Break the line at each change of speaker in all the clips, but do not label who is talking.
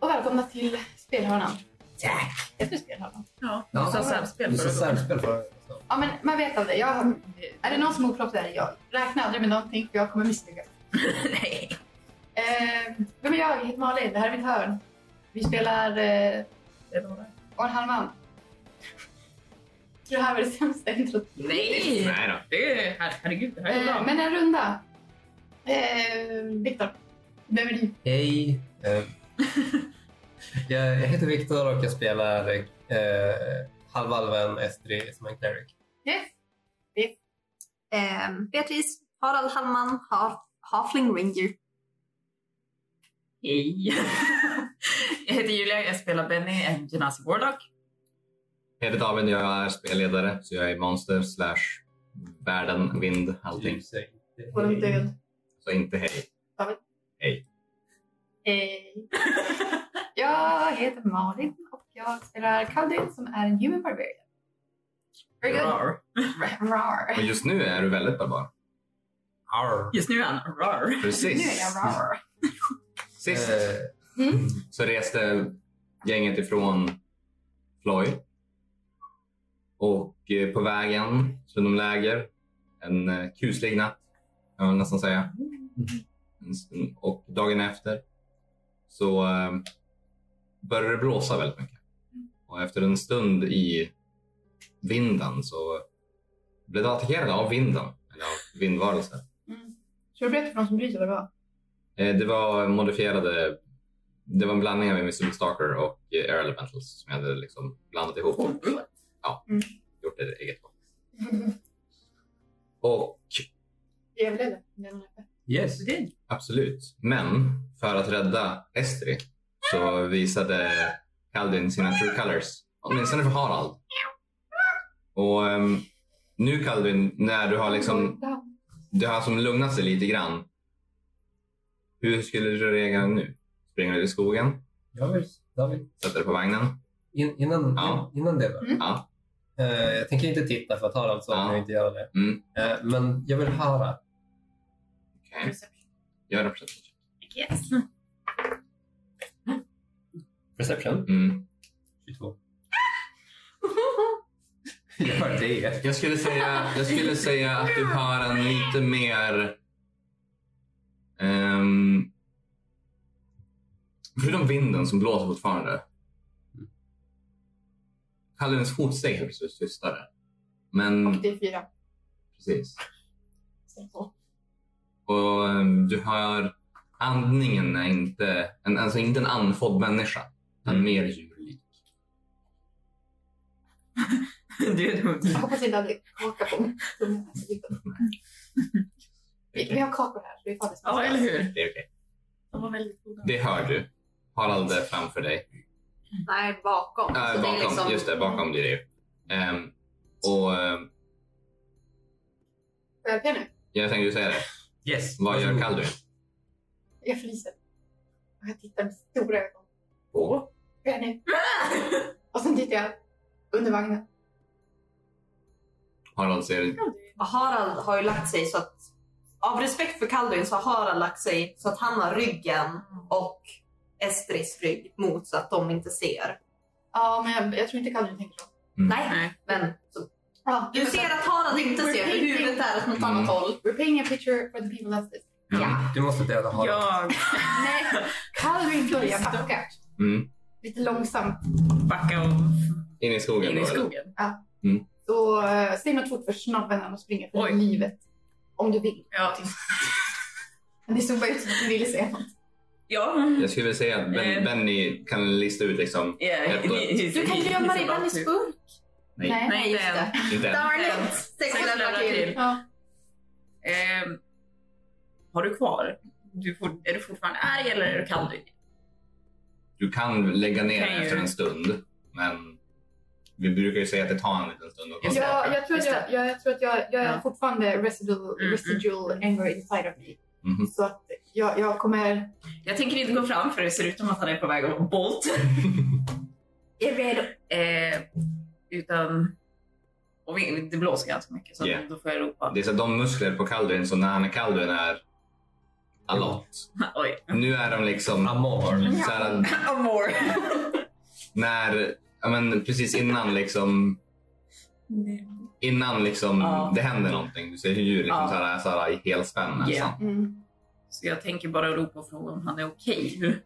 välkomna till spelhörnan.
Tack!
Heter det spelhörnan?
Ja,
Ja.
du sa samspel
Du sa
förra gången.
samspel förra gången.
Ja, men man vet aldrig. Jag, är det någon som är oproffsig är det jag. Räkna aldrig med någonting för jag kommer misslyckas.
Nej.
Eh, vem är jag? Jag heter Malin. Det här är mitt hörn. Vi spelar eh,
Det var det.
Och en halv man. Tror det här var det sämsta introt.
Nej!
Nej då.
Det är, her- herregud, det här är
Eh,
bra.
men en runda. Eh, Viktor, vem är du?
Hej! Eh, jag, jag heter Viktor och jag spelar eh, halvalven Estri som en cleric.
Yes.
Eh, Beatrice, Harald Hallman, har Halfling Ranger.
Hej! jag heter Julia, jag spelar Benny, en Genasi Warlock.
Jag heter David och jag är spelledare så jag är monster slash världen, vind, allting.
Du säger inte
Och
hej.
död.
Så inte hej.
Eh, jag heter Malin och jag spelar Kaudin som är en human barbarian. Very good.
Rar.
Rar.
Och just nu är du väldigt barbar.
Arr.
Just nu är han rar.
Nu
Precis.
är jag rar.
Sist
Eh,
så reste gänget ifrån Floyd. Och eh, på vägen söder om läger, en eh, kuslig natt kan man nästan säga. En stund. Och dagen efter så eh, började det blåsa väldigt mycket. Och efter en stund i vinden så blev de attackerade av vinden, eller av vindvarelser.
Ska du berätta för någon som bryr sig vad det var?
Eh, Det var modifierade, det var en blandning av Invisible Stalker och eh, Air Elementals som jag hade liksom blandat ihop och gjort ett eget. på. Och
Vi överlevde. Det är någon uppe.
yes.
Okej.
absolut, men för att rädda Estri så visade Kaldin sina true colors, åtminstone för Harald. Och ehm, nu Kaldin, när du har liksom det har som lugnat sig lite grann. Hur skulle du reagera nu? Springer du i skogen?
Jag vill, David,
Sätter dig på vagnen?
in, innan,
Ja.
in, innan det då.
Mm.
Ja.
Eh, jag tänker inte titta för att Harald sa att
Ja.
jag inte gör det.
Mm.
Eh, men jag vill höra.
Okej. Gör en perception. check.
Yes.
Perception?
Mm.
22. Gör det.
Jag, skulle säga, jag skulle säga att du har en lite mer... ehm, förutom vinden som blåser fortfarande. Kallens fotsteg är precis tystare. Men
Och det är fyra.
precis.
Så så.
Och ehm, du hör andningen är inte en, alltså inte en andfådd människa. Utan
Mm.
mer djurlik.
Det är dumt.
Jag hoppas inte att det kakar på mig. Vi, vi har kakor här. så Vi får
Ja, eller hur?
Det är okej.
De var väldigt goda.
Det hör du. Harald är framför dig.
Nej, bakom.
Ja,
Så det
bakom,
är liksom-
just det, bakom blir det ju. Ehm, och ehm,
Får jag öka nu?
jag tänkte ju säga det.
Yes.
Vad gör Kaldun?
Jag fryser. Och jag tittar med stora ögon.
På?
Får jag nu? Och sen tittar jag under vagnen.
Harald ser...
Och Harald har ju lagt sig så att av respekt för Kalduin så har Harald lagt sig så att han har ryggen och Estris rygg mot så att de inte ser.
Ja, men jag, jag tror inte Kadrin tänker så.
Nej,
Nej.
men så,
Ja,
du ser att Harald inte ser för huvudet är åt något annat håll.
We're painting a picture for the people that's this.
Ja. Du måste döda Harald.
Jag
Nej, Kadrin börjar backa.
Mm.
Lite långsamt.
backar
In i skogen
in
då,
i
eller?
skogen.
Så uh, säg något fort för snabben och springer för
Oj.
livet. Om du vill.
Ja.
Men det såg bara ut som att du ville säga något.
ja.
Jag skulle säga att ben,
Eh.
Benny kan lista ut liksom...
Yeah,
Du kan gömma dig i Bennys burk.
Nej,
Nej, just det.
inte än.
Darn
Den.
it! Det
Sex
glömde jag
lämnar till.
till.
Ja.
Ehm, har du kvar? Du får, är du fortfarande arg eller är du kall? Du?
Du kan lägga ner
Kan ju.
efter en stund, men vi brukar ju säga att det tar en liten stund. att komma
Just det.
tillbaka.
Jag, jag, tror att
Just det.
jag, jag, jag tror att jag, jag är
Ja.
fortfarande residual,
Mm,
residual anger inside of me.
Mhm.
Så att jag, jag kommer...
Jag tänker inte gå fram för det ser ut som att han är på väg att bolt.
Är redo.
Eh, utan... Och vi, det blåser ganska mycket så
Yeah.
då får jag ropa.
Det är så att de muskler på Kaldun, så när han är Kaldun är a lot.
Oj.
Nu är de liksom
Amor.
så här,
Amor.
när, ja, men precis innan liksom innan liksom
Ja.
det händer någonting. Du ser hur djur liksom
Ja.
så här, så här, i helspänn nästan.
Yeah.
Mm.
Så jag tänker bara ropa och fråga om han är okej.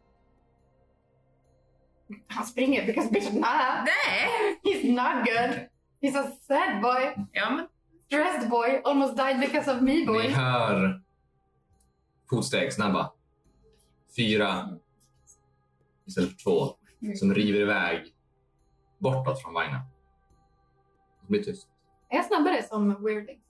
Han springer because bitch nah.
Nej!
He's not good. He's a sad boy.
Ja, men
Stressed boy. Almost died because of me
Ni
boy.
hör fotsteg, snabba. Fyra istället för två som river iväg bortåt från vagnen. Det blir tyst.
Är jag snabbare som weirding?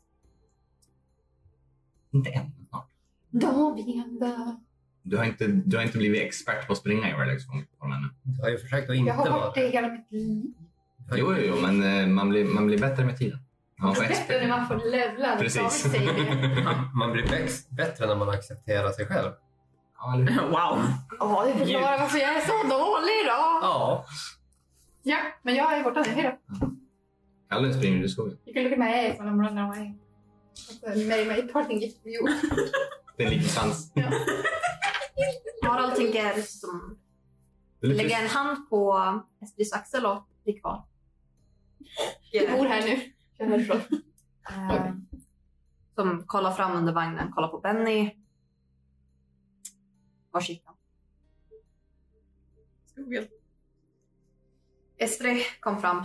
Inte än. snart.
Då vi ändå.
Du har, inte, du har inte blivit expert på att springa i Rolex form ännu.
Jag har ju försökt att inte
Jag har
vara
varit det
det.
hela mitt liv.
Jo, jo, jo, men eh, man blir, man blir bättre med tiden. Man får
Bättre när
expert.
man får levla.
Precis.
Man blir bäst, bättre när man accepterar sig själv.
ja, eller hur?
wow.
Ja, det förklarar varför jag är så dålig då.
Ja.
Ja, men jag är borta nu. Hej då.
Kallen springer ut i skogen.
You can look at my eyes when I'm running away. That's a very, very important gift for you.
Det är lite sans.
Harald tänker som
Det är lite
lägga en hand på Espris axel och bli kvar.
Vi bor här nu. Jag är härifrån.
Eh, Som kollar fram under vagnen, kollar på Benny. Var sitter han?
Skogen.
Estri kom fram.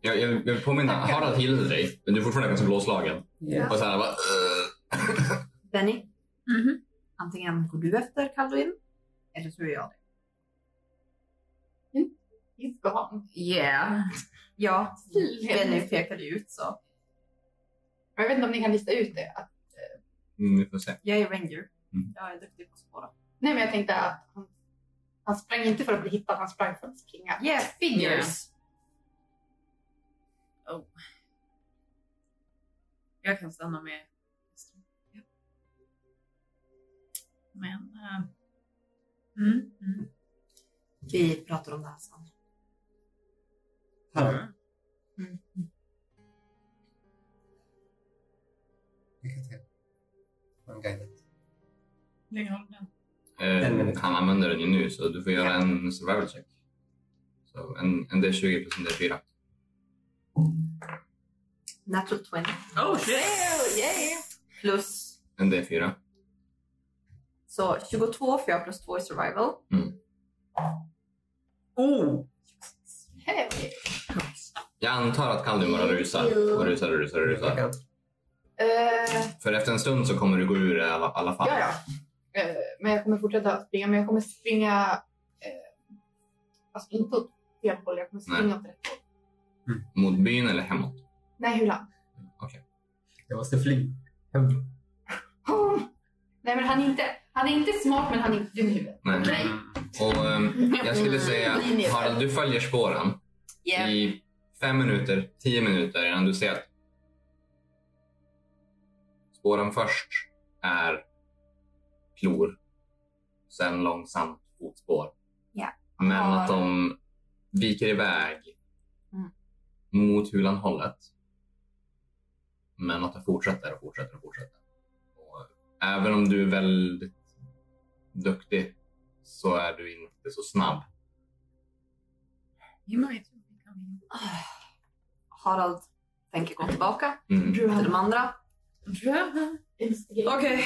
Jag, jag, jag vill påminna, Harald healade dig, men du är fortfarande ganska blåslagen.
Ja.
Och så här eh, bara... "Ugh."
Benny,
Mhm.
antingen går du efter Kalduin eller så är jag det.
He's gone.
Yeah.
Ja, Benny
Benny.
pekade ut så.
Jag vet inte om ni kan lista ut det. Att,
Mm, vi får se.
Jag är ranger.
Mm.
Jag är duktig på att spåra.
nej, men jag tänkte att han, han sprang inte för att bli hittad, han sprang för att springa.
Yeah, figures.
Jag kan stanna med. Men... eh, Mm, mm.
Vi pratar om det här sen.
Ja.
Mm.
Lycka till. Man guidar.
Lägg av den.
En
Eh,
minut.
han använder den ju nu, så du får göra en survival check. Så en, en D20 plus en D4.
Natural 20
Oh shit!
yeah.
plus
En D4.
så 22 för jag plus 2 i survival.
Oh!
Hej.
Jag antar att Kaldun bara rusar och rusar och rusar och
Jag
rusar.
kan-
Eh,
För efter en stund så kommer du gå ur i alla, alla fall.
ja, ja. Eh, men jag kommer fortsätta att springa, men jag kommer springa... Uh, alltså inte åt fel håll, jag kommer springa åt rätt håll.
Mot byn eller hemåt.
Nej, Hulan.
Jag måste fly. Hem.
Oh. Nej, men han är, inte, han är inte smart, men han är inte dum i huvudet.
Nej.
Nej.
Och ehm, jag skulle säga, Harald, du följer spåren i fem minuter, tio minuter innan du ser att spåren först är klor, sen långsamt fotspår.
Ja.
Men
Ja.
att de viker iväg
Mm.
mot Hulan-hållet. Men att det fortsätter och fortsätter och fortsätter. Och även om du är väldigt duktig så är du inte så snabb.
You might come in.
Harald tänker gå tillbaka
Mm.
till de andra.
Dröm.
Instigate.
Okej.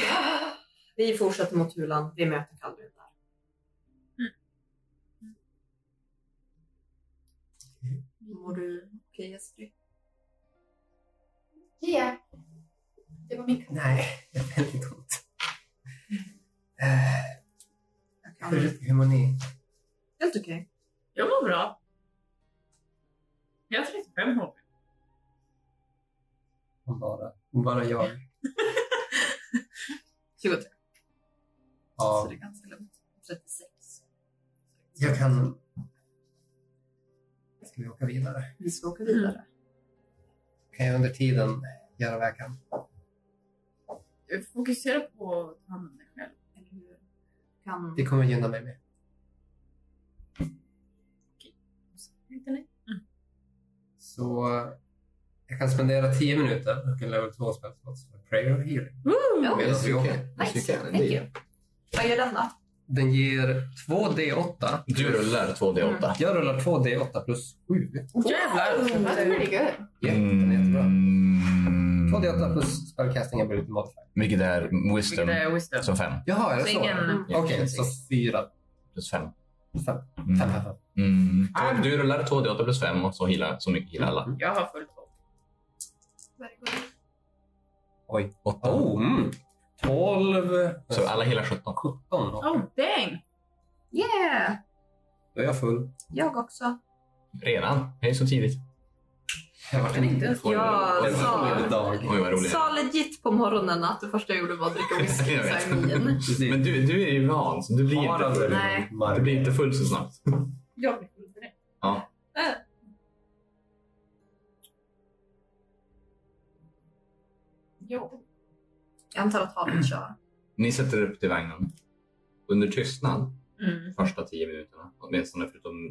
Vi fortsätter mot Hulan. Vi möter Kalduin där. Mm. Mår du okej Estrid?
Yeah. Det var min
Nej, jag är väldigt ont. Eh,
Mm.
Hur, hur mår ni?
Helt okej.
Jag mår bra. Jag har 35 HP.
Hon bara, hon bara jag.
23. Så
Ja,
det är ganska lugnt. 36.
jag kan... Ska vi åka vidare?
Vi ska åka vidare.
Kan jag under tiden göra vad jag kan?
Eh, Fokusera på att ta hand om dig själv.
Eller hur? Kan...
Det kommer gynna mig med.
Inte nej.
Så eh, jag Jag kan spendera 10 minuter och en level 2 spelslots för prayer och healing.
Ja,
Medan vi åker.
nice. Thank you.
Vad gör den då?
Den ger 2D8.
Du rullar 2D8.
Jag rullar 2D8 plus 7.
Jävlar.
That's
Oh.
pretty good.
Ja,
Mm.
Mm.
den är jättebra. 2D8 plus spellcasting ability modifier.
Vilket är
Vilket
wisdom.
är wisdom.
Så fem.
Jaha, är det
Så
så?
ingen-
Okej, så 4.
Mm.
Plus fem.
5.
Mm.
5, 5, 5.
Mm.
Du- Du rullar 2D8 plus 5 och så healar, så mycket healar alla.
Jag har fullt upp.
Very good.
Oj.
8.
Oh, mm. 12.
Så alla healar 17.
17. och
Oh dang!
Yeah!
Då är jag full.
Jag också.
Redan? Det är så tidigt.
Jag har varit en
ens
Oj,
Ja,
oj, oj,
sa-
oj,
full dag.
Oj, vad roligt.
Sa legit på morgonen att det första jag gjorde var att dricka whisky i
Jag vet.
sängen.
Precis.
Men du, du är ju van, så du blir inte full.
Nej.
Du blir inte full så snabbt.
Jag blir full direkt.
Ja.
Äh. Jo.
Jag antar att Harald kör.
Ni sätter upp till vagnen. Under tystnad,
Mm.
första tio minuterna, åtminstone förutom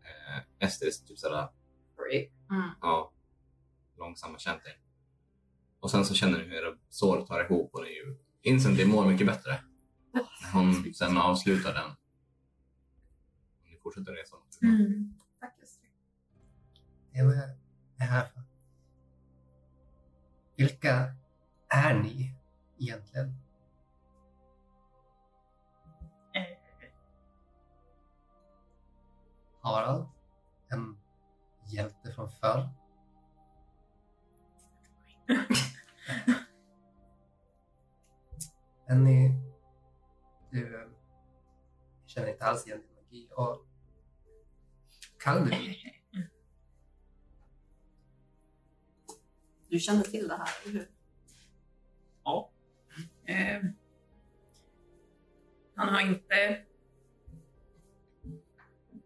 eh, Esters typ sådär,
Mm.
ja, långsamma kämpning. Och sen så känner ni hur era sår tar ihop och ni ju instantly mår mycket bättre. När hon sen avslutar den. Och Ni fortsätter resan.
Mm. Faktiskt.
Det var det här. Vilka är ni egentligen? Harald, en hjälte från förr. Annie, du eh, känner inte alls igen din magi. Och kan du
Du känner till det här, eller hur?
Ehm. han har inte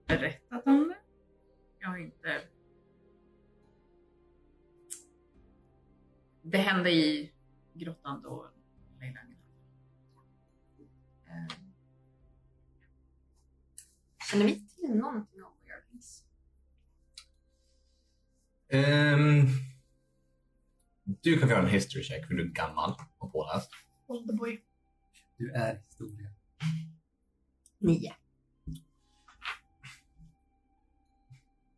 berättat om det. Jag har inte... Det hände i grottan då Leila Ehm.
Känner vi till någonting om Weirdings?
Ehm, du kan få göra en history check för du är gammal och påläst.
Oldboy.
Du är historia.
Nio.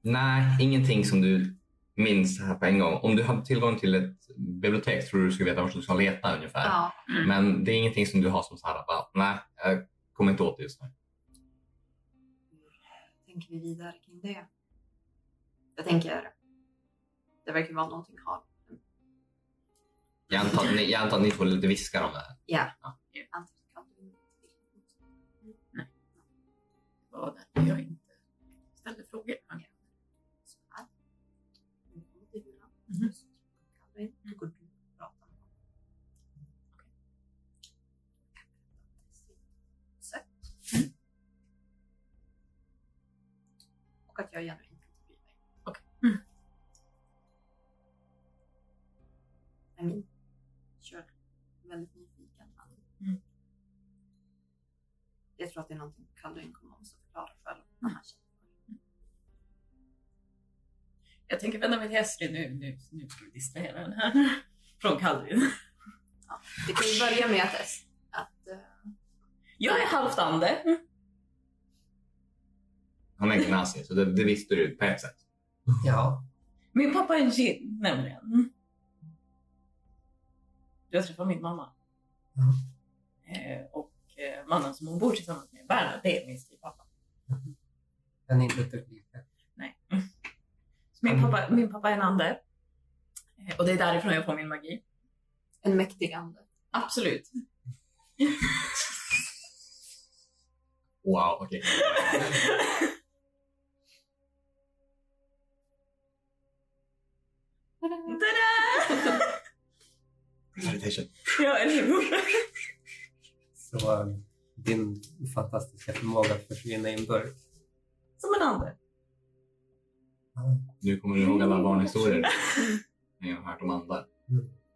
Nej, ingenting som du minns här på en gång. Om du hade tillgång till ett bibliotek tror du du skulle veta vart du ska leta ungefär.
Ja.
Men det är ingenting som du har som så här, bara, nej, jag kommer inte åt det just nu.
Tänker vi vidare kring det? Jag tänker, det verkar vara någonting Harald
Jag antar, att ni, jag antar att ni får lite viskar om det här.
antar att Harald inte vill.
var därför jag inte ställde frågor.
Så här. Nu kommer du göra.
Mhm.
Så kan du inte. Då går du och pratar med honom. Okej. Så. Och att jag gärna inte bryr mig.
Okej.
Mm. Amin kör väldigt nyfiken. Han.
Mm.
Jag tror att det är någonting Kalduin kommer att förklara själv när han känner för det.
Jag tänker vända mig till Estrid nu, nu, nu ska vi distrahera den här från Kalvin.
Vi kan ju börja med att, es- att eh,
Jag är halvt ande.
Han är gymnasiet, så det, det visste du på ett sätt.
Ja,
Min pappa är en gin nämligen. Jag träffade min mamma.
Mm.
Eh, och eh, mannen som hon bor tillsammans med, Bernhard, det är min styvpappa.
den är inte riktigt lika.
Nej. Så min, pappa, min pappa är en ande. Eh, och det är därifrån jag får min magi.
en mäktig ande.
Absolut.
Wow, okej.
Ta-da!
Presentation.
Jag är hur?
Så eh, din fantastiska förmåga att försvinna i en burk.
Som en ande.
Nu kommer du ihåg alla barnhistorier ni har hört om andar.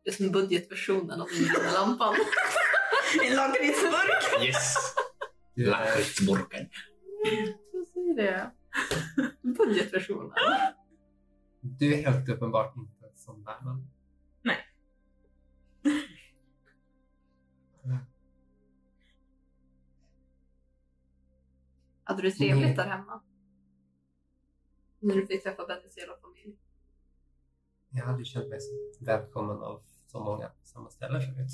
Det är som budgetversionen av Lilla lampan.
En lakritsburk.
Yes!
Du är,
Lakritsburken.
Jag säger det. Budgetversionen.
du är helt uppenbart inte som värmen?
Nej.
Hade du trevligt där hemma? När du fick träffa Bettys hela familj?
Jag hade känt mig så välkommen av så många på samma ställe förut.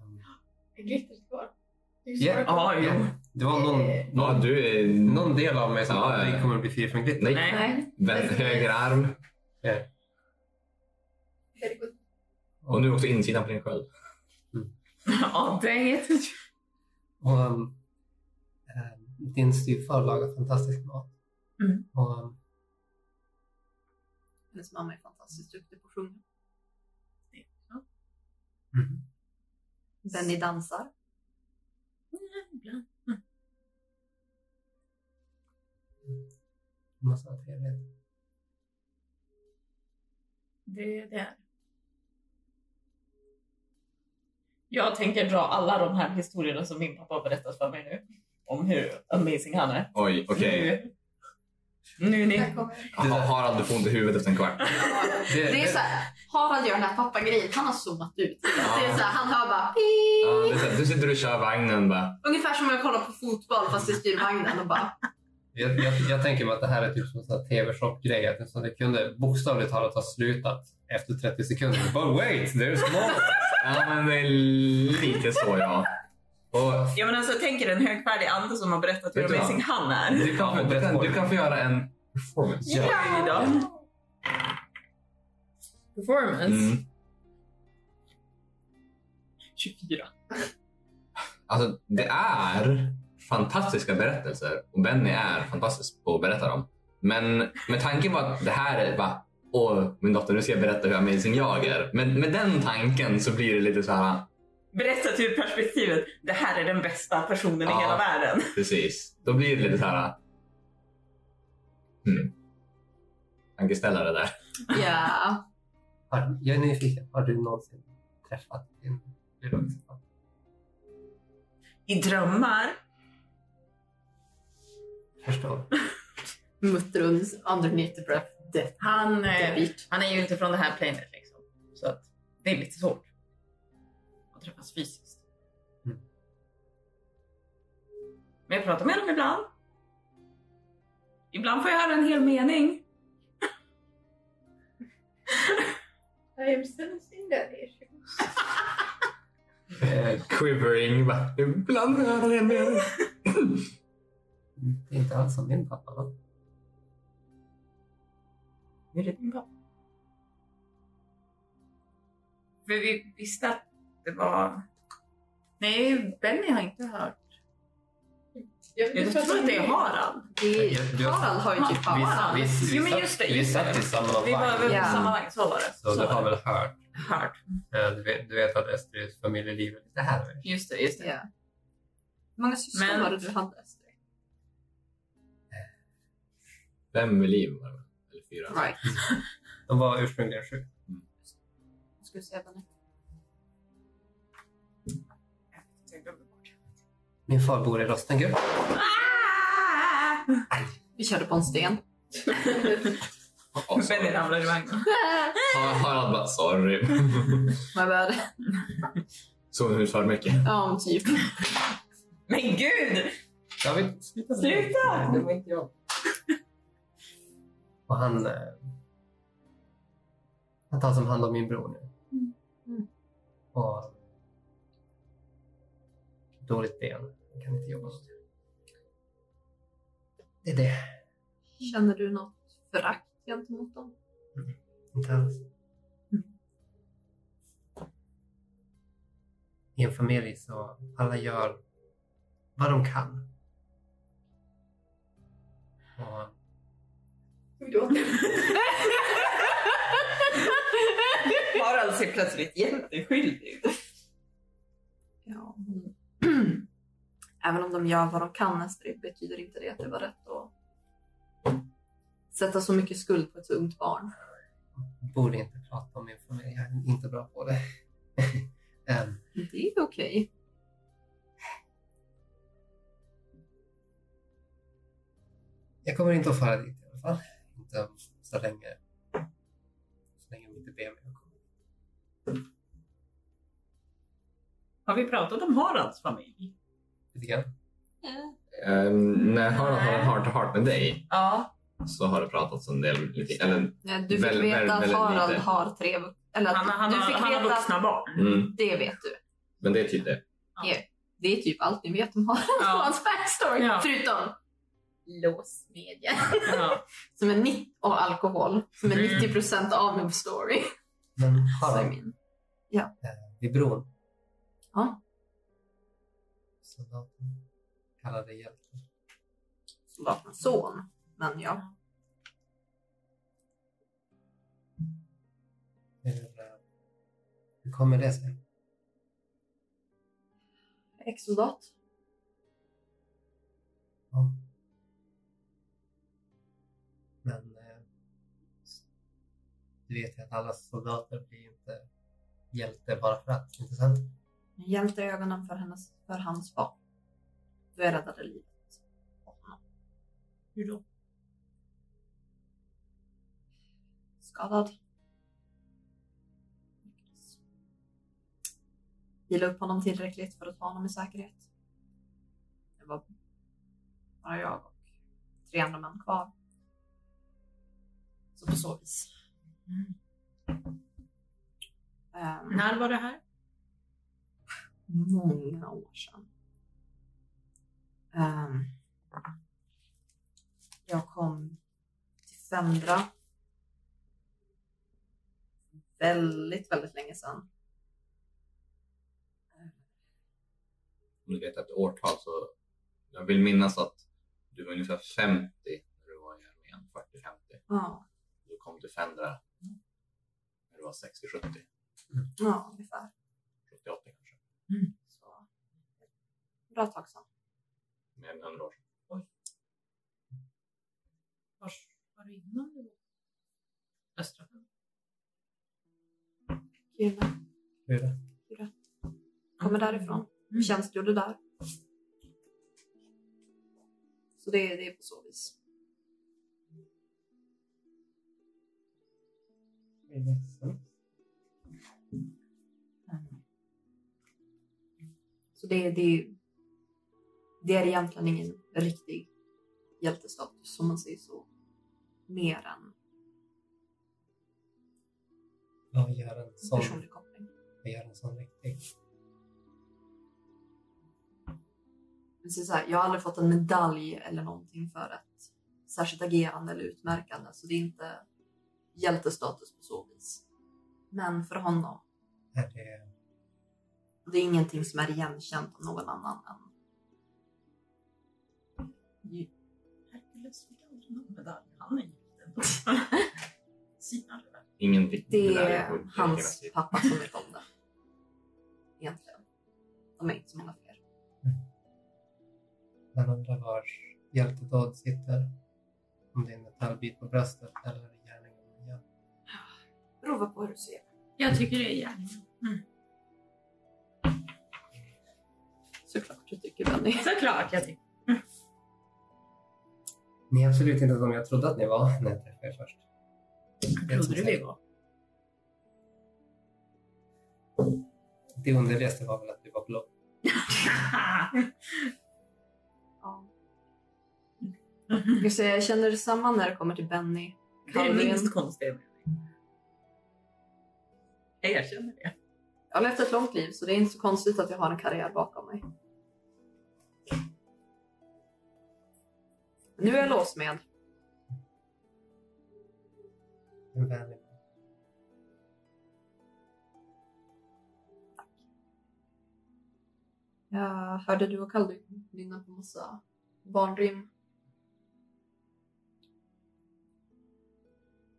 Mm.
Glittret kvar. Det är ju
Ja.
svårt.
Ja, jo. Eh,
Det var någon,
Ja,
någon,
du är...
någon del av mig som
Ja, ja, ja.
aldrig kommer att bli fri från glitter.
Nej.
Nej.
Nej.
Vänd höger arm.
Very good.
Och nu också insidan på din sköld.
Ja, det heter ju...
Och, ehm, eh, din styvfar lagar fantastisk mat.
Mm.
Och, ehm,
Hennes mamma är fantastiskt duktig på att sjunga. Mm. Benny dansar.
Ibland.
massa trevligt.
Det är det. här. Jag tänker dra alla de här historierna som min pappa har berättat för mig nu. Om hur amazing han är.
Oj, okej.
Nu, nu ni...
Där kommer-
Ha- Harald, du får ont i huvudet efter en kvart.
Det,
Det är så här, Harald gör den här pappagrejen, han har zoomat ut. Det är så här, han hör bara
Ja,
pii.
det är så här, du sitter och kör vagnen bara.
Ungefär som om jag kollar på fotboll fast jag styr vagnen och bara
jag, jag, jag tänker mig att det här är typ som en sån här tv-shop-grej. Att det- så det kunde bokstavligt talat ha slutat efter 30 sekunder. But wait, there's more!
Ja, men det är lite så ja. Och,
Ja men alltså jag tänker en högfärdig ande som har berättat hur
Vet du vad?
amazing han är.
du, kan, få- du, kan, du kan få göra en performance.
Ja.
Oj då. Performance.
Mm.
24.
Alltså, det är fantastiska berättelser och Benny är fantastisk på att berätta dem. Men med tanke på att det här är bara Åh, min dotter, nu ska jag berätta hur amazing jag är. Men med den tanken så blir det lite så här,
Berättat ur typ perspektivet, det här är den bästa personen
Ja.
i hela världen.
precis. Då blir det lite så här... Hmm. Tankeställare där.
ja.
Har, jag är nyfiken. Har du någonsin träffat din biologiska
I drömmar.
Förstår.
Muttrums underneath the breath death.
Han, eh,
Definitivt.
han är ju inte från det här planet liksom. Så att det är lite svårt. Att träffas fysiskt.
Mm.
Men jag pratar med honom ibland. Ibland får jag höra en hel mening.
I am sensing that issue.
Eh,
Quivering. Bara, Ibland hör jag det med.
Det är inte alls som min pappa. Va?
Hur är det din pappa? För vi visste att det var... Nej, Benny har inte hört. Jag tror att det är Harald.
Det
Jag- jag-
Harald har ju typ
Ja,
pappa.
vi- Jo, men
satt-
just det,
vi
just
satt
det.
i samma
Vi var
vagn.
väl
Ja.
på samma vagn, så var det.
Så du
var
har
det.
väl hört.
Hört.
Eh, Du vet, du vet att Esters familjeliv är lite här. va?
Just det, just det.
Ja. Hur många syskon
Men-
var det du hade? Astrid?
Fem i liv var det väl? Eller fyra.
Right.
De var ursprungligen sju.
Jag skulle säga Benny.
Jag glömde bort.
Min far bor i Rostengrupp.
Ah!
Vi körde på en sten.
Oh,
Benny ramlade i vagnen.
Harald bara, sorry.
My bad.
Såg hon ut för mycket?
Ja, men typ.
Men gud!
David, sluta! med det.
Sluta!
Det var inte jag. Och han... eh, Han tar som hand om min bror nu.
Mm.
Och... Dåligt ben. Han kan inte jobba. Det är det.
Känner du något förakt gentemot dem?
Inte alls. I en familj så alla gör vad de kan. Och
Harald ser plötsligt jätteskyldig ut.
Ja. Även om de gör vad de kan, Astrid, betyder inte det att det var rätt att sätta så mycket skuld på ett ungt barn.
borde inte prata om min familj. Jag är inte bra på det. Ehm,
Det är okej.
jag kommer inte att fara dit i alla fall. Inte om så länge, så länge de inte ber mig att komma.
Har vi pratat om Haralds familj?
Lite grann.
Ehm, när jag har har heart to heart med dig
Ja.
så har det pratats en del. Lite, eller,
Nej, Du fick
Väl-
veta
väl-
att
väldigt
Harald
lite.
har tre vuxna. Eller att
Han, han,
du
har,
fick
han har
veta att
vuxna barn.
mm,
det vet du.
men det är typ det.
Det är typ allt ni vet om Harald och
Ja.
hans backstory.
Ja.
Förutom låsmedjan.
ja.
Som är 90, och alkohol. Som är
Mm.
90% av min story.
Men
Så är
Harald, eh,
min.
vid bron.
Ja.
Soldaten kallade hjälten.
Soldaternas son. Men ja.
Hur, eh, hur kommer det sig?
Ex-soldat.
Ja. Men eh, du vet ju att alla soldater blir inte hjälte bara för att, inte sant?
Jag hjälpte ögonen för, hennes, för hans barn. Du räddade livet. på honom.
Hur då?
Skadad. Vila upp honom tillräckligt för att ta honom i säkerhet. Det var bara jag och tre andra män kvar. Så på så vis.
Mm.
Ehm,
När var det här?
många år sedan. Ehm, jag kom till Femdra. Väldigt, väldigt länge sedan.
Om du vet ett årtal så jag vill minnas att du var ungefär 50 när du var i armén, 40-50.
Ja,
Du kom till Fendra när du var 60-70,
ja ungefär.
78 kanske.
Så. Bra tag sedan.
Mer än 100 år sedan.
Var, var det innan du var? Östra.
Kiruna,
Hur det?
kommer därifrån.
Mm.
Tjänstgjorde där. Så det, det är på så vis.
Är ledsen.
Så det, det, det är egentligen ingen riktig hjältestatus som man säger så. Mer än
Vad gör en sån,
personlig koppling.
vad gör en sån riktig?
Men så är det så här, jag har aldrig fått en medalj eller någonting för ett särskilt agerande eller utmärkande. Så det är inte hjältestatus på så vis. Men för honom,
Är det,
det är ingenting som är igenkänt av någon annan än... Ju-
Herkules fick aldrig någon medalj. Han är gift ändå. Sinar det där.
Ingenting.
Det
där
är
på- på hela
hans
sidan.
pappa som vet om det. Egentligen. De är inte så många fler.
man undrar var hjältedåd sitter? Om det är en metallbit på bröstet eller gärningen man gör.
Prova på hur du ser.
Jag tycker det är gärning.
Såklart du tycker Benny.
Såklart jag tycker.
Ni är absolut inte de jag trodde att ni var när jag träffade er först.
Trodde du vi var?
Det underligaste var väl att du var blå.
Ja.
Mm.
Jag, ska säga, jag känner detsamma när det kommer till Benny.
Det är det
Kalvin.
minst konstiga med mig. Jag erkänner det.
Jag har levt ett långt liv så det är inte så konstigt att jag har en karriär bakom mig. Nu är jag låsmed.
En vänlig man.
Jag hörde du och Kalle nynna på massa barnrim.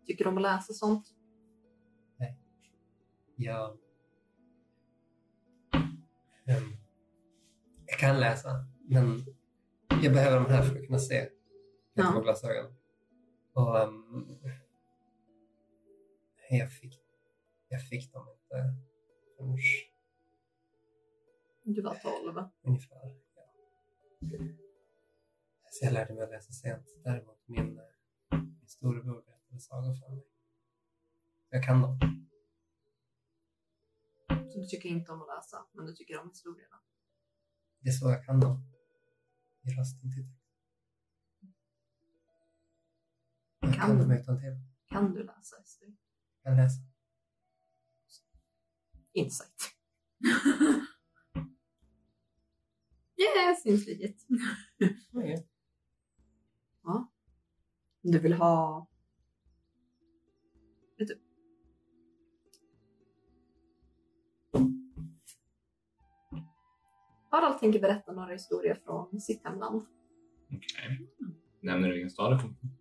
Tycker du om att läsa sånt?
Jag... Ehm, jag kan läsa, men jag behöver de här för att kunna se. Jag
Ja.
har glasögon. Och, ehm, jag, fick, jag fick dem inte förrän
Du var 12.
ungefär. Ja. Så jag lärde mig att läsa sent. Däremot min, eh, min storebror berättade äldre sagor för mig. Jag kan dem.
Så du tycker inte om att läsa, men du tycker om historierna.
Det är så jag kan dem. I rösten till Jag kan,
Kan-
dem utan till.
Kan du läsa historier?
Jag kan läsa.
Insight. yes, inflyget.
Okej.
Om du vill ha... Vet du? Harald tänker berätta några historier från sitt hemland.
Nämner du vilken stad det kommer från?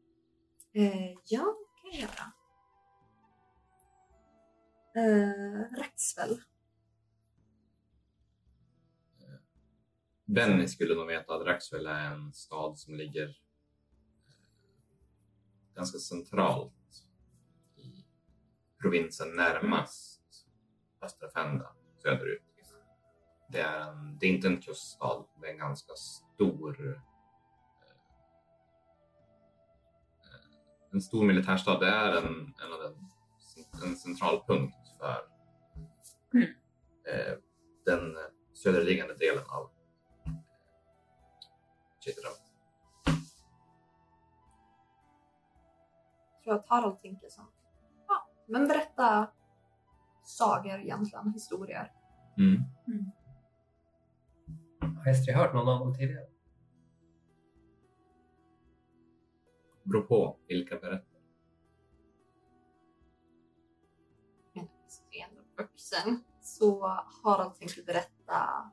Eh, ja, det kan jag göra. Eh, Raxfell.
Benny skulle nog veta att Raxfell är en stad som ligger eh, ganska centralt i provinsen närmast östra Fenda söderut. Det är, en, det är inte en kuststad, det är en ganska stor eh, en stor militärstad. Det är en, en, av den, en central punkt för eh, den söderliggande delen av Chitra.
tror jag att Harald tänker som. Ja, men berätta sagor egentligen, historier.
Mm.
Har Estri hört någon av dem tidigare?
Beror på vilka berättelser.
Men det är ändå vuxen. Så Harald tänker berätta.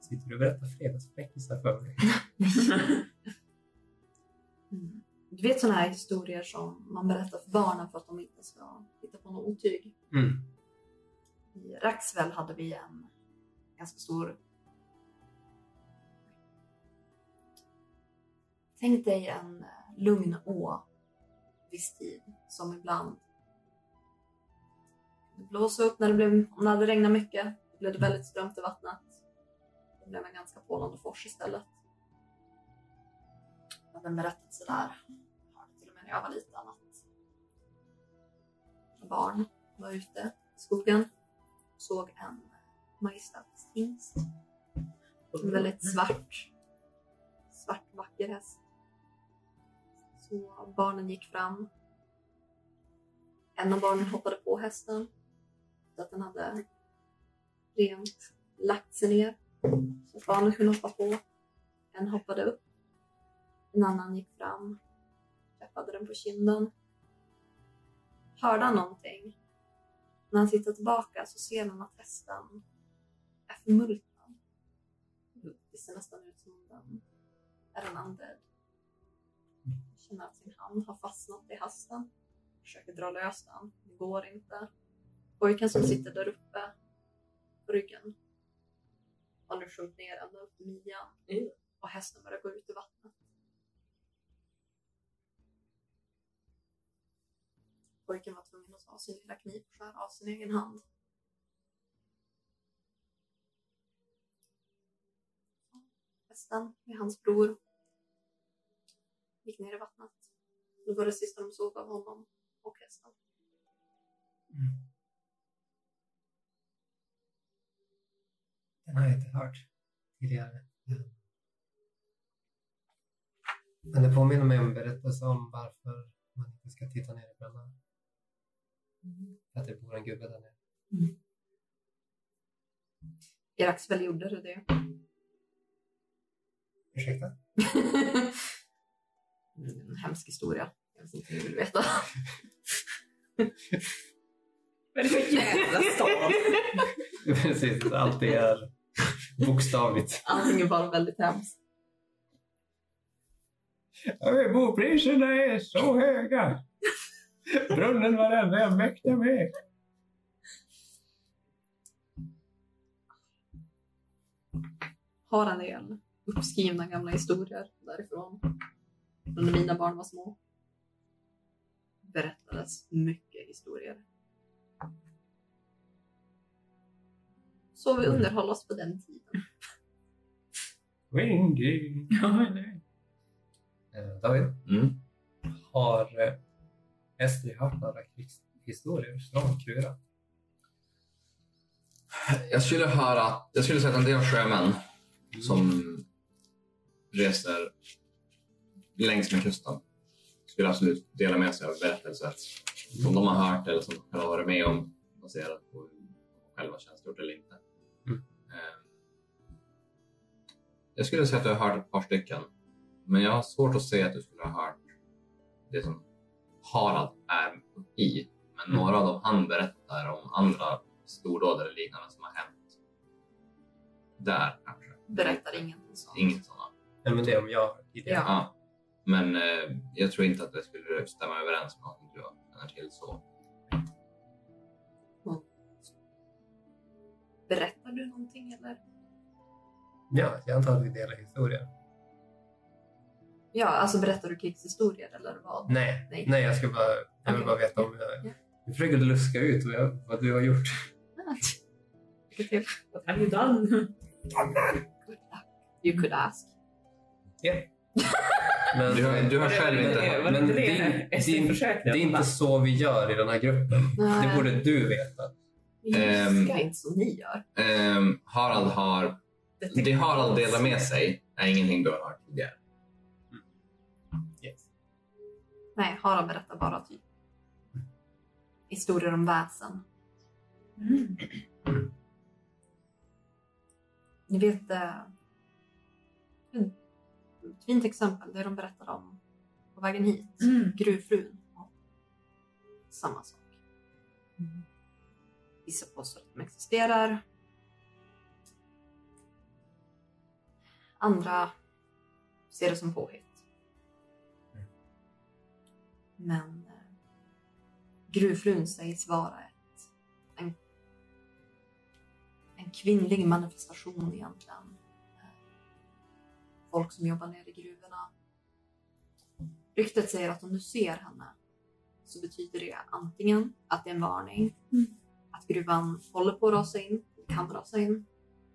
Sitter du och berättar fredagsfräckisar för mig?
Mm. Du vet sådana här historier som man berättar för barnen för att de inte ska hitta på något otyg.
Mm.
I Raxwell hade vi en ganska stor... Tänk dig en eh, lugn å viss tid som ibland det blåste upp när det blev, om det hade regnat mycket. Då blev det väldigt strömt i vattnet. Det blev en ganska pålande fors istället. Jag hade en berättelse där, jag hörde till och med när jag var liten, att barn var ute i skogen såg en majestätshingst. En väldigt svart, svart vacker häst. Så barnen gick fram. En av barnen hoppade på hästen. Så att den hade rent lagt sig ner. Så att barnen kunde hoppa på. En hoppade upp. En annan gick fram. Träffade den på kinden. Hörde han någonting? När han tittar tillbaka så ser han att hästen är förmultnad. Det ser nästan ut som om den är en undead. Han Känner att sin hand har fastnat i hästen. Försöker dra lös den. Det går inte. Pojken som sitter där uppe på ryggen har nu sjunkit ner ända upp i midjan. Och hästen börjar gå ut i vattnet. Pojken var tvungen att ta sin lilla kniv och skära av sin egen hand. Hästen med hans bror gick ner i vattnet. Det var det sista de såg av honom och hästen.
Den har jag inte hört tidigare. Men det påminner mig om en berättelse om varför man inte ska titta ner i brunnar. Att det bor en gubbe där nere.
I Raxfell gjorde du det.
Ursäkta?
Mm, en hemsk historia. Jag vet inte om du vill veta.
Vad är det för jävla stad?
Precis, allt det är bokstavligt.
Allting är bara väldigt hemskt.
Bopriserna är så höga! Brunnen var det enda jag mäktade med.
har en del uppskrivna gamla historier därifrån. Men När mina barn var små berättades mycket historier. Så
Mm.
vi underhöll oss på den tiden.
Windy.
Ja, eller hur?
Eh, David,
Mm.
Har eh, Estri hört några krigshistorier från Kura?
Jag skulle höra att, jag skulle säga att en del sjömän som reser längs med kusten skulle absolut dela med sig av berättelser som de har hört eller som de har varit med om baserat på hur de själva tjänstgjort eller inte.
Mm.
Eh, Jag skulle säga att jag har hört ett par stycken, men jag har svårt att se att du skulle ha hört det som Harald är i. Men
Mm.
några av dem han berättar om andra stordåd eller liknande som har hänt där kanske.
Berättar ingenting sånt.
Inget sådant.
Nej, men det om jag har hört tidigare.
Ja.
Ja. Men eh, jag tror inte att det skulle stämma överens med någonting du känner till så.
Berättar du någonting eller?
Ja, jag antar att vi delar historier.
Ja, alltså berättar du krigshistorier eller vad?
Nej,
Nej.
nej jag, ska bara, jag vill
Okej.
bara veta om jag...
Ja.
Jag försöker luska ut vad, jag, vad du har gjort.
Lycka till.
What have you done?
Good luck. You could ask.
Men,
Du har, du har
Vad är
själv
det- vad är
inte
det-
hört.
vad är
men
det-
det,
det-
är-
SD
det är-
försöker
det är
bara-
inte så vi gör i den här gruppen. Det borde du veta.
Nej,
Ehm.
Det är inte som ni gör.
Ehm, Harald har...
Detective
Det Harald
Holmes.
delar med sig är ingenting du har hört tidigare.
Nej, Harald berättar bara typ historier om väsen.
Mm.
Ni vet, eh, ett fint exempel, det de berättade om på vägen hit.
Mm.
Gruvfrun. Ja. Samma sak.
Mm.
Vissa påstår att de existerar. Andra ser det som påhitt.
Mm.
Men eh, gruvfrun sägs vara ett, en, en kvinnlig manifestation egentligen. Eh, Folk som jobbar nere i gruvorna. Ryktet säger att om du ser henne så betyder det antingen att det är en varning,
Mm.
att gruvan håller på att rasa in, kan rasa in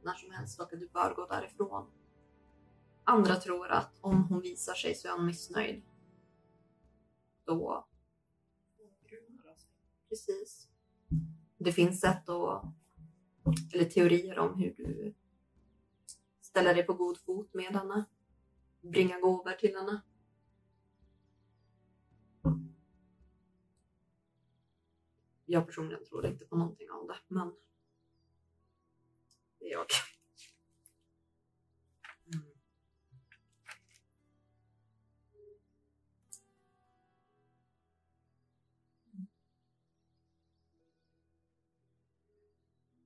när som helst och att du bör gå därifrån. Andra tror att om hon visar sig så är hon missnöjd. Då... Precis. Det finns sätt att... Eller teorier om hur du ställer dig på god fot med henne. Bringa gåvor till henne. Jag personligen tror inte på någonting av det, men det är jag. Mm.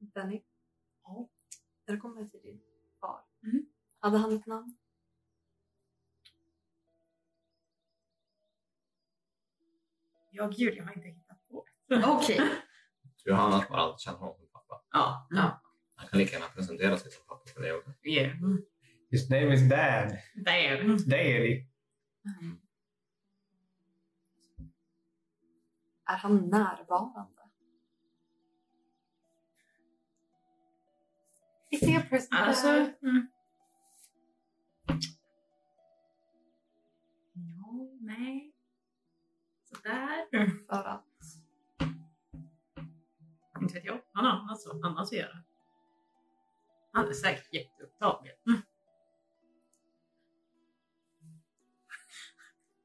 Benny?
Ja.
När det kommer till din far,
Mhm.
hade han ett namn?
Jag gud, jag har inte hittat på.
Okej.
Du har annars bara alltid känt honom som pappa.
Ja. ja.
Han kan lika gärna presentera sig som pappa för dig också.
Yeah.
His name is Dad.
Damn.
Daily.
Mm. Är han närvarande?
Is he a person
Alltså.
that-
Mm. Ja, nej. Sådär.
För att
Inte vet jag. Han har annars, annars att göra. Han är säkert jätteupptagen.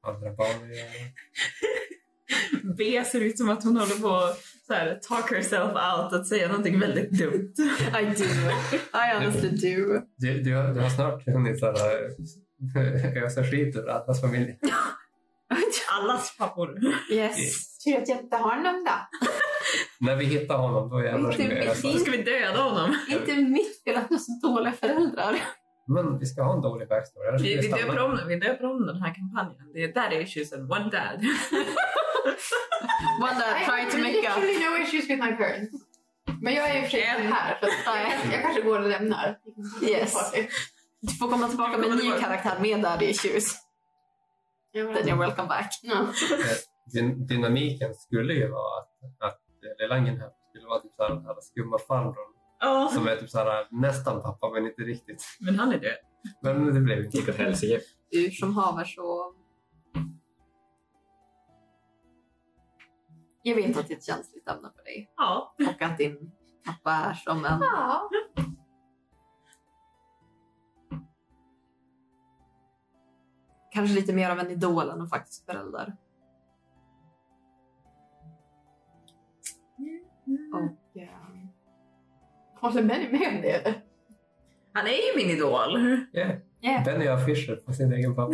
Andra barn i ögonen.
B ser ut som att hon håller på att så här, talk herself out, att säga någonting väldigt dumt.
I do. I honestly do.
du, du, har- du har snart hunnit så här, eh, ösa skit över allas familj.
Allas pappor.
Yes.
Tur att jag inte har någon då.
När vi hittar honom, då jävlar ska vi ösa.
Så ska vi döda honom.
Inte mitt fel att jag har så dåliga föräldrar.
Men vi ska ha en dålig backstory. annars
Vi,
ska
vi,
stanna.
döper om, vi döper om den här kampanjen. Det är daddy issues and one dad.
One that
I
tried
have
to make up.
literally no issues with my parents. Men jag är i och för sig
Yeah.
inte här, så att, eh, jag kanske går och lämnar.
Yes. Du får komma tillbaka med en ny karaktär med daddy issues. Then you're welcome back.
Ja.
Dyn- Eh, Dynamiken skulle ju vara att, att Lelangen här skulle vara typ så här, den här skumma farbrorn
Ja,
som är typ så här, nästan pappa men inte riktigt.
men han är död.
Men det blev inte.
Gick åt helsike.
Ur som haver så Jag vet att det är ett känsligt ämne för dig
Ja.
och att din pappa är som en...
Ja.
Kanske lite mer av en idol än en faktisk förälder. Och, eh,
Håller Benny med om det eller?
Han är ju min idol.
Yeah.
Yeah.
Benny har affischer på sin egen pappa.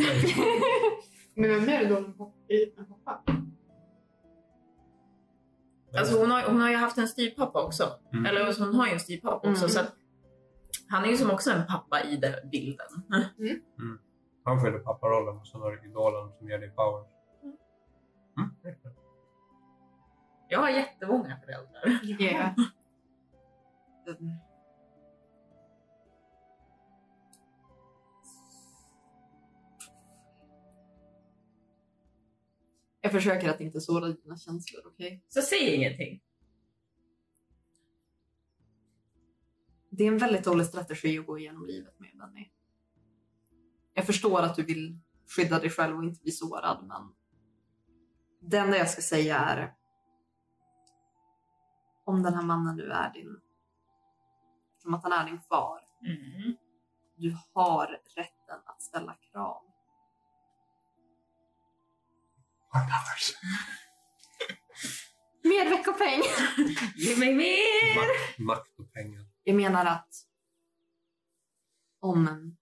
Men vem är det då med pop- i- med pappa?
Alltså hon, har, hon har ju haft en styvpappa också.
Mm.
Eller alltså, hon har ju en styvpappa också.
Mm.
Så att, han är ju som också en pappa i den bilden.
Han fyller papparollen och sen har du idolen som ger dig power.
Jag har jättemånga föräldrar.
Yeah.
Mm. Jag försöker att inte såra dina känslor, okej?
Så säg ingenting.
Det är en väldigt dålig strategi att gå igenom livet med, Benny. Jag förstår att du vill skydda dig själv och inte bli sårad, men det enda jag ska säga är om den här mannen nu är din, som att han är din far,
Mm.
du har rätten att ställa krav. Mer veckopeng!
Ge mig mer!
Makt, makt och pengar.
Jag menar att om en,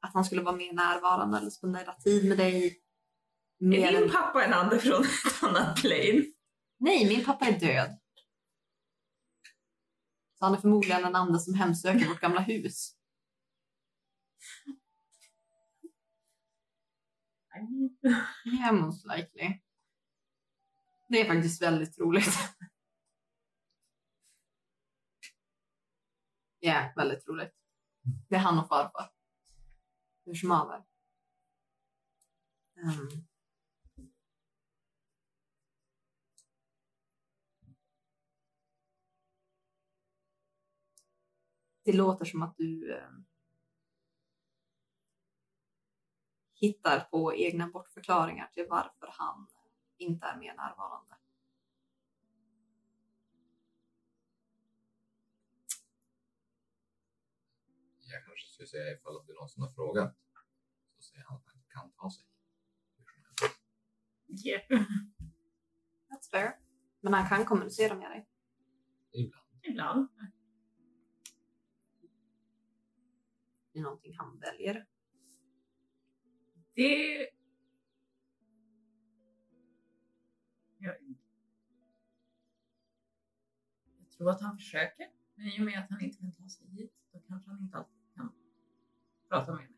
att han skulle vara mer närvarande eller spendera tid med dig. Mer
Är din
än,
pappa en ande från ett annat plane?
nej, min pappa är död. Så han är förmodligen en ande som hemsöker vårt gamla hus. Yeah, most likely. Det är faktiskt väldigt troligt. Ja, väldigt troligt. Det är han och farfar. Hur som haver. Ehm. Det låter som att du ehm, hittar på egna bortförklaringar till varför han inte är mer närvarande.
Jag kanske skulle säga ifall att det är någon som har frågat. Så säger han att han kan ta sig.
Yeah.
That's fair. Men han kan kommunicera med dig.
Ibland.
Ibland.
Det är någonting han väljer.
Det... Jag... jag tror att han försöker, men i och med att han inte kan ta sig hit så kanske han inte alltid kan prata med mig.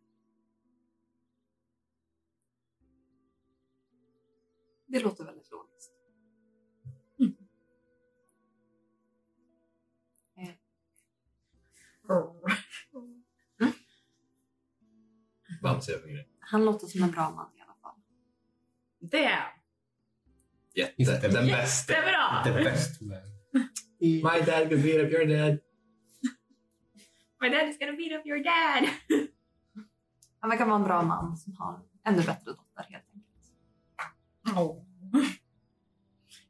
Det låter väldigt logiskt.
Mm.
Eh,
Bamse är en grej.
Han låter som en bra man i alla fall.
Det
Jätte. Den
Yes.
bästa.
är bra!
The best man.
I,
My dad could beat up your dad.
My dad is gonna beat up your dad!
han verkar vara en bra man som har en ännu bättre dotter helt enkelt.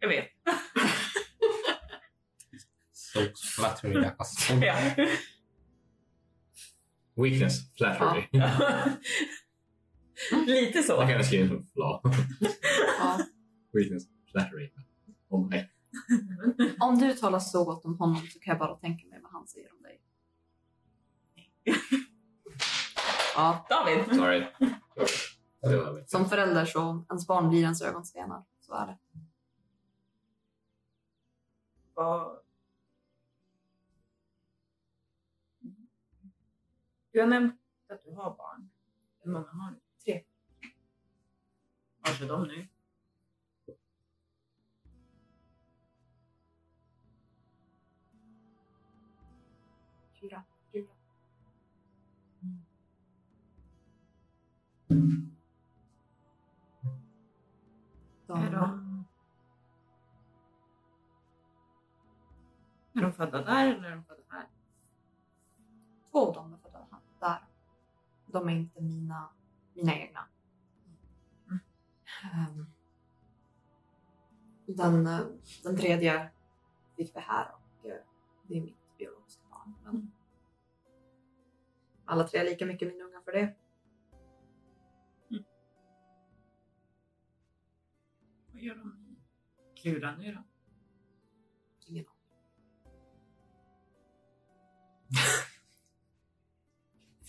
Jag vet.
So flattering. Jag kastar.
Ja.
Weakness. Flattery.
Lite så.
Jag kan jag skriva som flaw.
Ja,
Weakness. Flattery. Oh my.
om du talar så gott om honom så kan jag bara tänka mig vad han säger om dig. Ja,
David.
Sorry. Det var mitt.
som förälder så ens barn blir ens ögonstenar. Så är det.
Vad- Du har nämnt att du har barn. Hur många har du?
Tre.
Vart är de nu?
Fyra.
Är
De,
de... Är de födda där eller är de födda här?
två av dem är födda här- där. De är inte mina, mina egna.
Mm.
Ehm, Den, eh, den tredje fick vi här och eh, det är mitt biologiska barn. Men alla tre är lika mycket min unga för det.
Vad gör de i Klura nu då?
Ingen aning.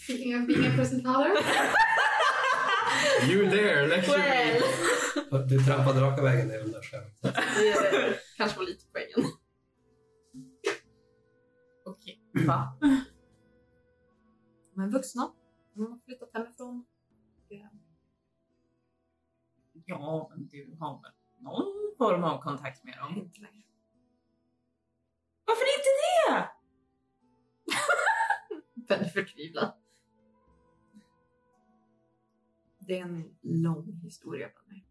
Inga, inga presentaler.
You there, lecture me.
Du trampade raka vägen även där själv.
Det kanske var lite poängen.
Okej. Va?
De är vuxna. De har flyttat hemifrån.
Ja, men du har väl någon form av kontakt med dem?
Inte längre.
Varför inte det?
Väldigt förtvivlad. Det är en lång historia på mig.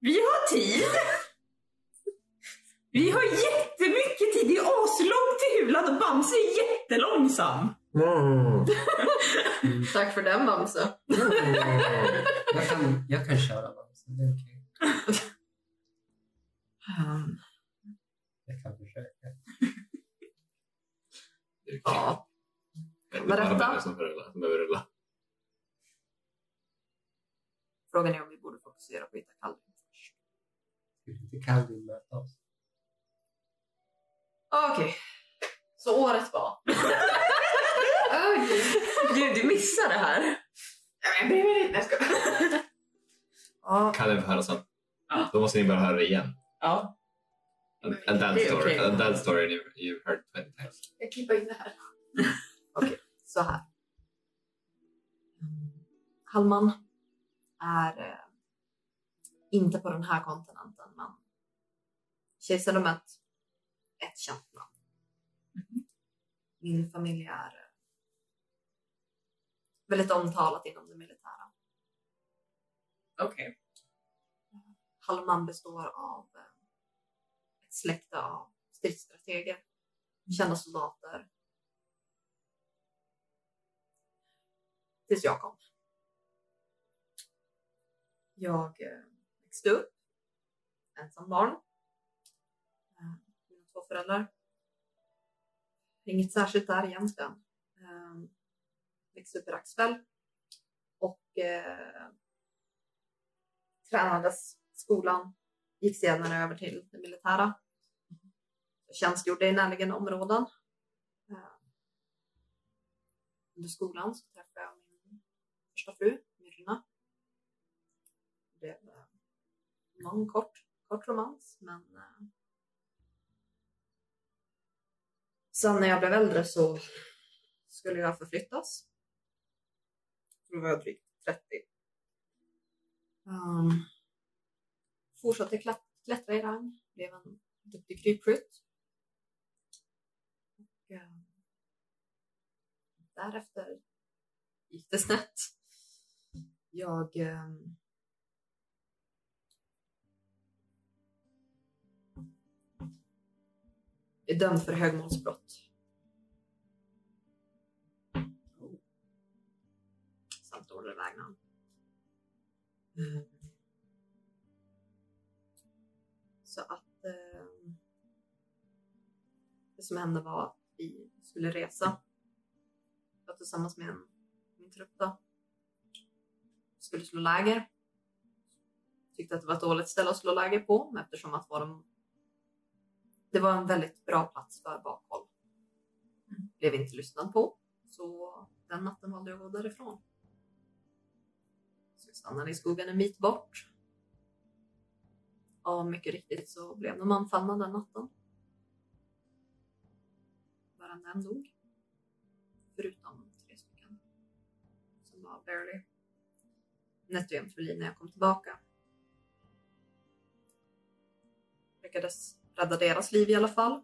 Vi har tid! Vi har jättemycket tid. Det är aslångt till Hulan och Bamse är jättelångsam.
Mm.
Tack för den Bamse.
Jag kan, jag kan köra Bamse, det är okej.
Ehm,
Jag kan försöka.
Ja,
Det är
Berätta.
bara som föräldrar som behöver rulla.
frågan är om vi borde fokusera på att hitta Calvin först.
Skulle inte Calvin möta oss?
Okej. Så året var?
Oj!
Du, du missar det här.
Jag bryr mig inte. Jag skojar.
Ja,
Kalle får höra sen.
Ja.
Då måste ni bara höra det igen.
Ja.
A, a dad
Det är
story.
okej.
A dad story you've, you've heard 20 times.
Jag klipper in det här.
så här. Mm. Hallman är eh, inte på den här kontinenten, men kejsardömet är ett känt namn. Mhm. Min familj är eh, väldigt omtalat inom det militära.
Okej.
Hallman består av eh, ett släkte av stridsstrateger, kända soldater. Tills jag kom. Jag eh, växte upp ensam barn. Eh, Mina två föräldrar. Inget särskilt där egentligen. Eh, Växte upp i Raxfäll och eh, tränades i skolan. Gick senare över till det militära. Tjänstgjorde i närliggande områden. Eh, Under skolan så träffade jag min första fru, Myrna. Det blev eh, någon kort, kort romans, men eh, sen när jag blev äldre så skulle jag förflyttas. Då var jag drygt 30. Ehm, fortsatte klätt, klättra i rang, blev en duktig krypskytt. Och, ehm, därefter gick det snett. Jag ehm, är dömd för högmålsbrott. Samt dålig vägnan. Mm. Så att eh, det som hände var att vi skulle resa. Jag var tillsammans med en, min trupp då. Skulle slå läger. Tyckte att det var ett dåligt ställe att slå läger på eftersom att var de, det var en väldigt bra plats för bakhåll. Blev inte lyssnad på. Så den natten valde jag att gå därifrån. Så vi stannade i skogen en bit bort. Och mycket riktigt så blev de anfallna den natten. Varenda en dog. Förutom tre stycken. Som var barely. Nätt och jämnt vid liv när jag kom tillbaka. Lyckades rädda deras liv i alla fall.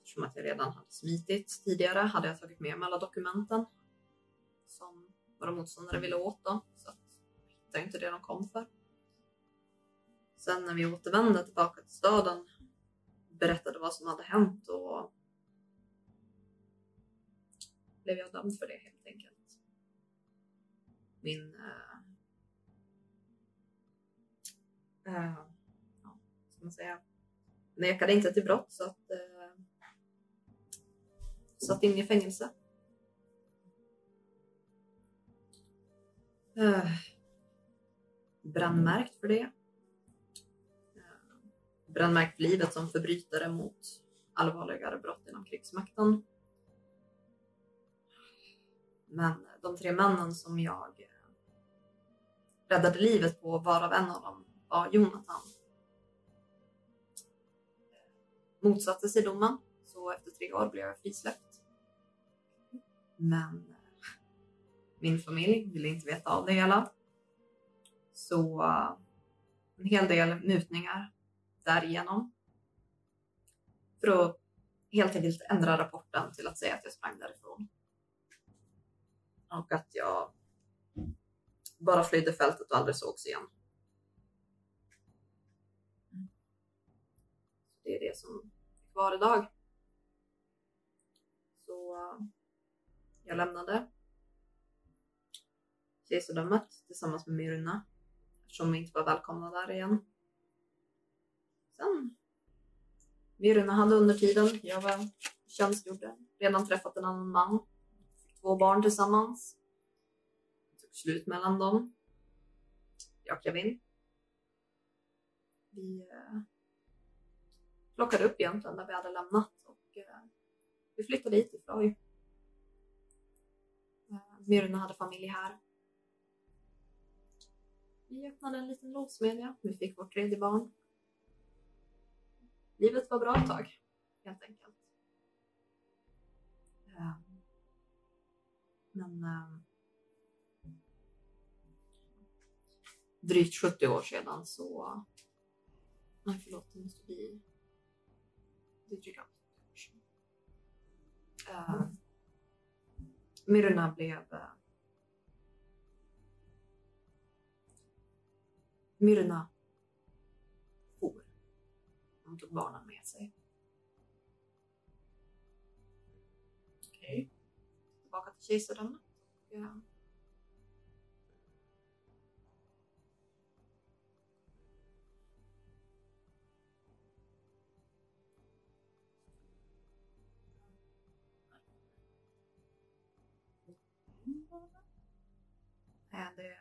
Eftersom att jag redan hade smitit tidigare hade jag tagit med mig alla dokumenten. Som våra motståndare ville åt då. Så att jag hittade inte det de kom för. Sen när vi återvände tillbaka till staden berättade vad som hade hänt och blev jag dömd för det helt enkelt. Min eh, eh, man säga. Nekade inte till brott så att... Eh, satt in i fängelse. Eh, brandmärkt för det. Eh, brandmärkt för livet som förbrytare mot allvarligare brott inom krigsmakten. Men de tre männen som jag eh, räddade livet på, varav en av dem var Jonathan, eh, motsatte sig domen. Så efter tre år blev jag frisläppt. Men eh, min familj ville inte veta av det hela. Så eh, en hel del mutningar därigenom. För att helt enkelt ändra rapporten till att säga att jag sprang därifrån. Och att jag bara flydde fältet och aldrig sågs igen. Det är det som är kvar idag. Så eh, jag lämnade kejsardömet tillsammans med Myrna eftersom vi inte var välkomna där igen. Sen Myrna hade under tiden jag var tjänstgjorde redan träffat en annan man. Fick två barn tillsammans. Det tog slut mellan dem. Jag klev in. Vi eh, plockade upp Jämtland där vi hade lämnat och eh, vi flyttade hit ifrån. ju. Eh, Myrna hade familj här. Vi öppnade en liten låssmedja. Vi fick vårt tredje barn. Livet var bra ett tag, helt enkelt. Eh, Men eh, drygt 70 år sedan så... Nej, förlåt, det måste bli... Det är drygt 80 år sedan. Eh, Myrna blev... eh, Myrna for. Hon tog barnen med sig.
Okej.
Tillbaka till kejsardömet. Ja. Mm. Eh, Det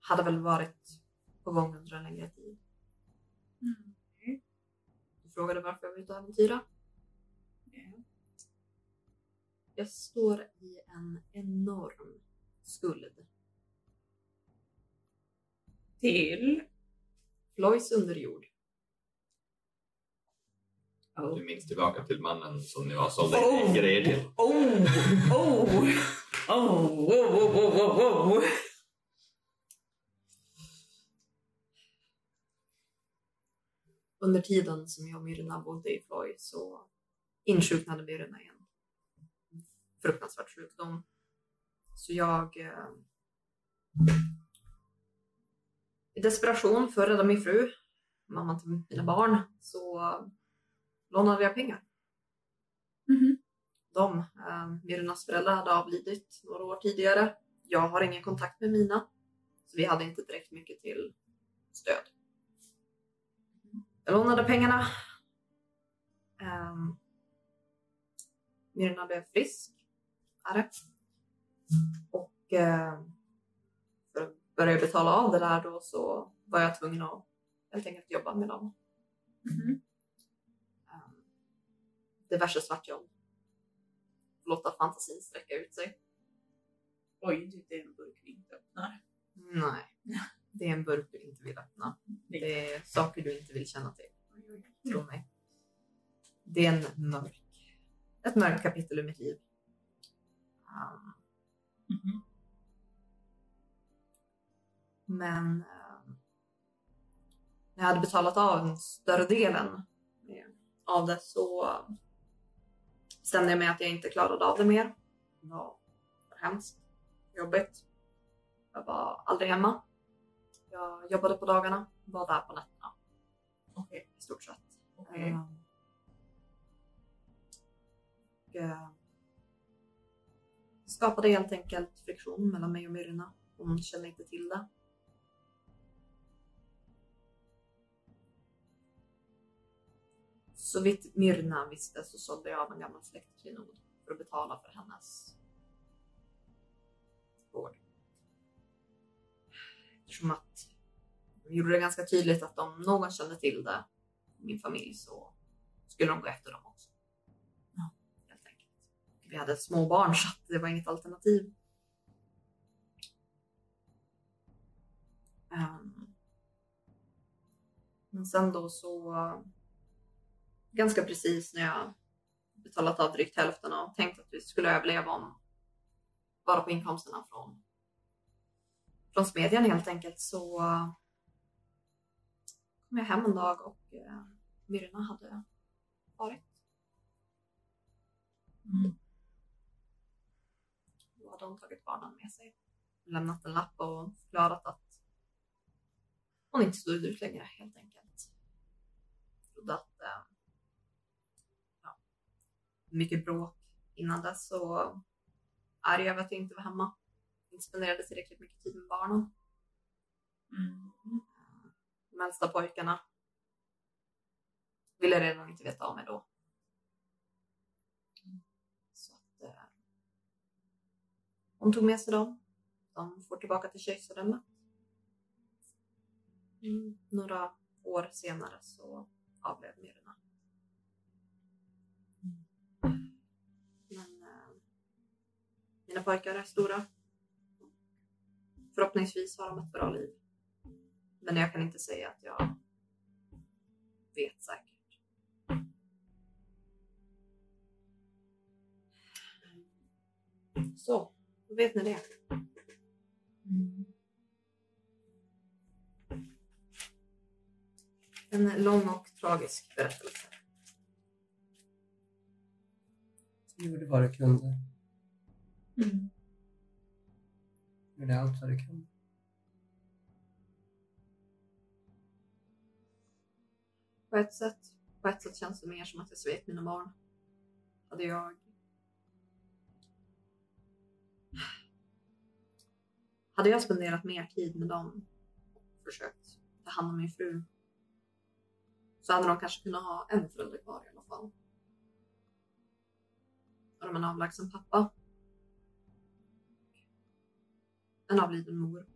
hade väl varit på gång under en längre tid.
Mm.
Du frågade varför jag var ute och äventyra. Jag står i en enorm skuld.
Till?
Floys underjord.
Du minns tillbaka till mannen som ni var sålde oh. grejer till.
Oh! Oh! Oh! Oh! Oh! Oh! Oh! oh.
Under tiden som jag och Myrna bodde i Floy så insjuknade Myrna i en fruktansvärd sjukdom. Så jag... Eh, I desperation för att rädda min fru, mamma till mina barn, så lånade jag pengar.
Mhm.
De, eh, Myrnas föräldrar, hade avlidit några år tidigare. Jag har ingen kontakt med mina, så vi hade inte direkt mycket till stöd. Jag lånade pengarna. Um, Myrna blev frisk. Är det. Och ehm, för att börja betala av det där då så var jag tvungen att helt enkelt jobba med dem.
Mhm.
Ehm, diverse svartjobb. Låta fantasin sträcka ut sig.
Oj, det är en burk vi inte öppnar.
Nej, det är en burk du inte vill öppna. Det är saker du inte vill känna till. Tro mig. Det är en mörk, ett mörkt kapitel i mitt liv. Ehm,
Mhm.
Men ehm, när jag hade betalat av den större delen eh, av det så eh, bestämde jag mig att jag inte klarade av det mer. Det var hemskt, jobbigt. Jag var aldrig hemma. Jag jobbade på dagarna, var där på nätterna
Okej.
i stort sett.
Okej.
Ehm, och, eh, skapade helt enkelt friktion mellan mig och Myrna. Hon kände inte till det. Så vitt Myrna visste så sålde jag av en gammal släktklenod för att betala för hennes vård. Eftersom att de gjorde det ganska tydligt att om någon kände till det, min familj, så skulle de gå efter dem också.
Ja.
Helt enkelt. Vi hade små barn så att det var inget alternativ. Ehm. Men sen då så eh, ganska precis när jag betalat av drygt hälften och tänkt att vi skulle överleva om bara på inkomsterna från, från smedjan helt enkelt så eh, kom jag hem en dag och eh, Myrna hade varit.
Mm.
Då hade hon tagit barnen med sig. Lämnat en lapp och förklarat att hon inte stod ut längre helt enkelt. Trodde att eh, ja, mycket bråk innan dess så arg över att jag inte var hemma. Inte spenderade tillräckligt mycket tid med barnen
Mm.
de äldsta pojkarna ville redan inte veta av mig då. Så att, eh, hon tog med sig dem. De får tillbaka till kejsardömet. Mm, några år senare så avled Myrna. Men eh, mina pojkar är stora. Förhoppningsvis har de ett bra liv. Men jag kan inte säga att jag vet säkert. Så, då vet ni det. En lång och tragisk berättelse.
Gjorde vad du kunde.
Mm.
Gjorde allt vad du kunde.
På ett sätt, på ett sätt känns det mer som att jag svek mina barn. Hade jag... Hade jag spenderat mer tid med dem och försökt ta hand om min fru så hade de kanske kunnat ha en förälder kvar i alla fall. Har de en avlägsen pappa? En avliden mor.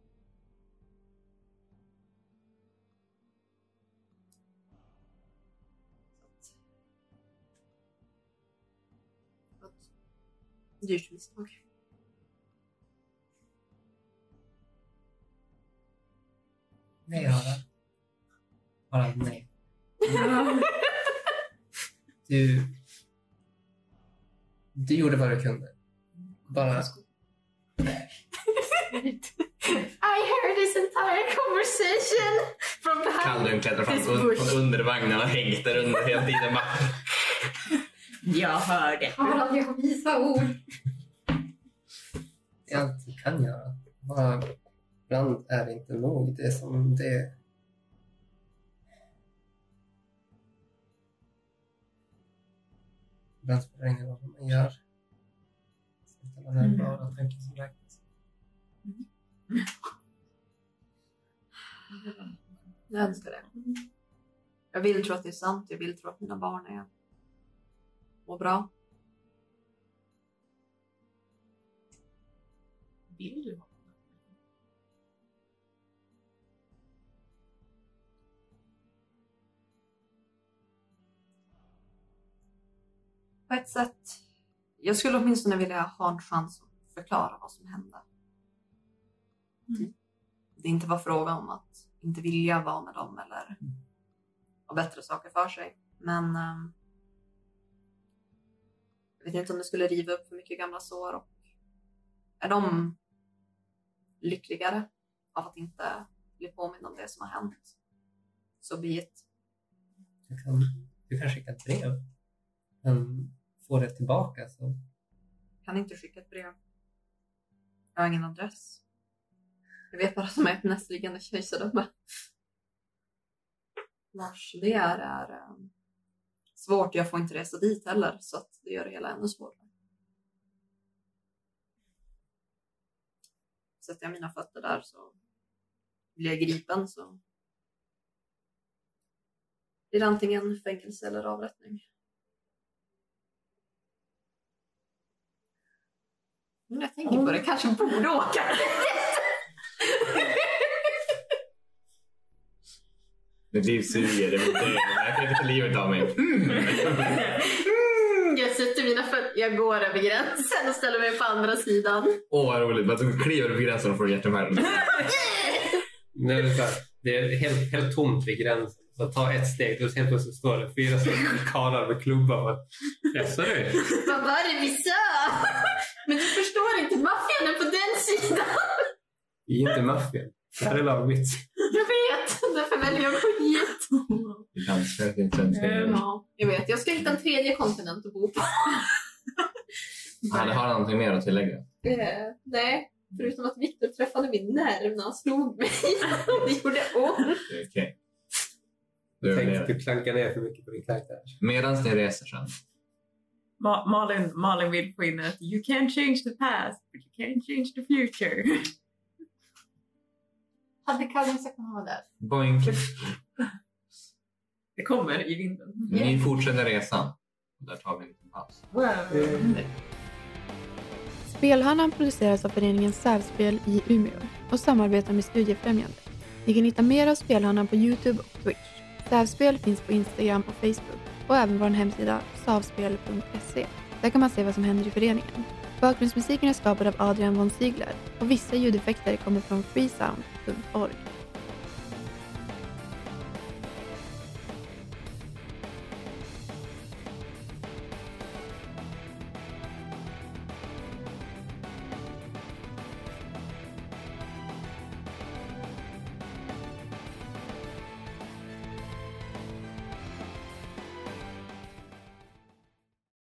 Det var ett dyrt misstag.
Nej, Harald. Harald, nej. Du... Du gjorde vad du kunde. Bara...
I heard this entire conversation from behind.
Kallun klättrar fram
Miss
från,
Bush.
från under vagnen och hängt där under hela tiden. Bara,
Jag hörde.
Harald, jag har visa ord.
Det är allt du kan göra. Bara... Ibland är det inte nog. Det är som det... Ibland spelar det ingen roll vad man gör. Utan det är
Mm.
bara tanken som räknas.
Jag önskar det. Jag vill tro att det är sant. Jag vill tro att mina barn är mår bra.
Vill du ha
På ett sätt. Jag skulle åtminstone vilja ha en chans att förklara vad som hände. Typ.
Mm.
Det inte var fråga om att inte vilja vara med dem eller ha bättre saker för sig. Men ehm, jag vet inte om det skulle riva upp för mycket gamla sår och är de lyckligare av att inte bli påminna om det som har hänt? Så be it.
Du kan, du kan skicka ett brev. Men få det tillbaka så...
kan inte skicka ett brev. Jag har ingen adress. Jag vet bara att de är på nästliggande kejsardöme. Vars det är, är ehm, svårt. Jag får inte resa dit heller så att det gör det hela ännu svårare. Sätter jag mina fötter där så blir jag gripen så blir det antingen fängelse eller avrättning. Nu när Mm, jag tänker på det kanske borde åka.
Mitt liv suger. Det är mitt död. Jag kan inte ta livet av mig.
Mm, jag sätter mina fötter, jag går över gränsen och ställer mig på andra sidan.
Åh, vad roligt. Bara så kliver över gränsen och får hjärtinfarkt.
När det, är så här, det är helt, helt tomt vid gränsen. Så ta ett steg, då helt plötsligt står det fyra stycken karlar med klubbar. Jaså du?
Vad var det vi sa? Men du förstår inte, maffian är på den sidan.
Vi är inte maffian. Det här är laget mitt.
Jag vet, därför väljer jag skit.
Danskar, det är svenskar.
Ja, jag vet. Jag ska hitta en tredje kontinent att bo på.
Hade har någonting mer att tillägga?
Eh, nej, förutom att Viktor träffade min nerv när han slog mig. det gjorde ont.
Det är Okej.
Jag
Du är
tänkte att
med.
du klankar typ ner för mycket på din karaktär.
Medan ni reser sen.
Ma- Malin, Malin vill få in att you can change the past but you can change the future.
Hade Calvin sagt att han var där?
Boink.
Det kommer i vinden.
Ni fortsätter resan. Där tar vi en liten paus.
Spelhörnan produceras av föreningen Sävspel i Umeå och samarbetar med Studiefrämjande. Ni kan hitta mer av Spelhörnan på Youtube och Twitch. Sävspel finns på Instagram och Facebook och även vår hemsida savspel.se. Där kan man se vad som händer i föreningen. Bakgrundsmusiken är skapad av Adrian von Ziegler och vissa ljudeffekter kommer från freesound.org.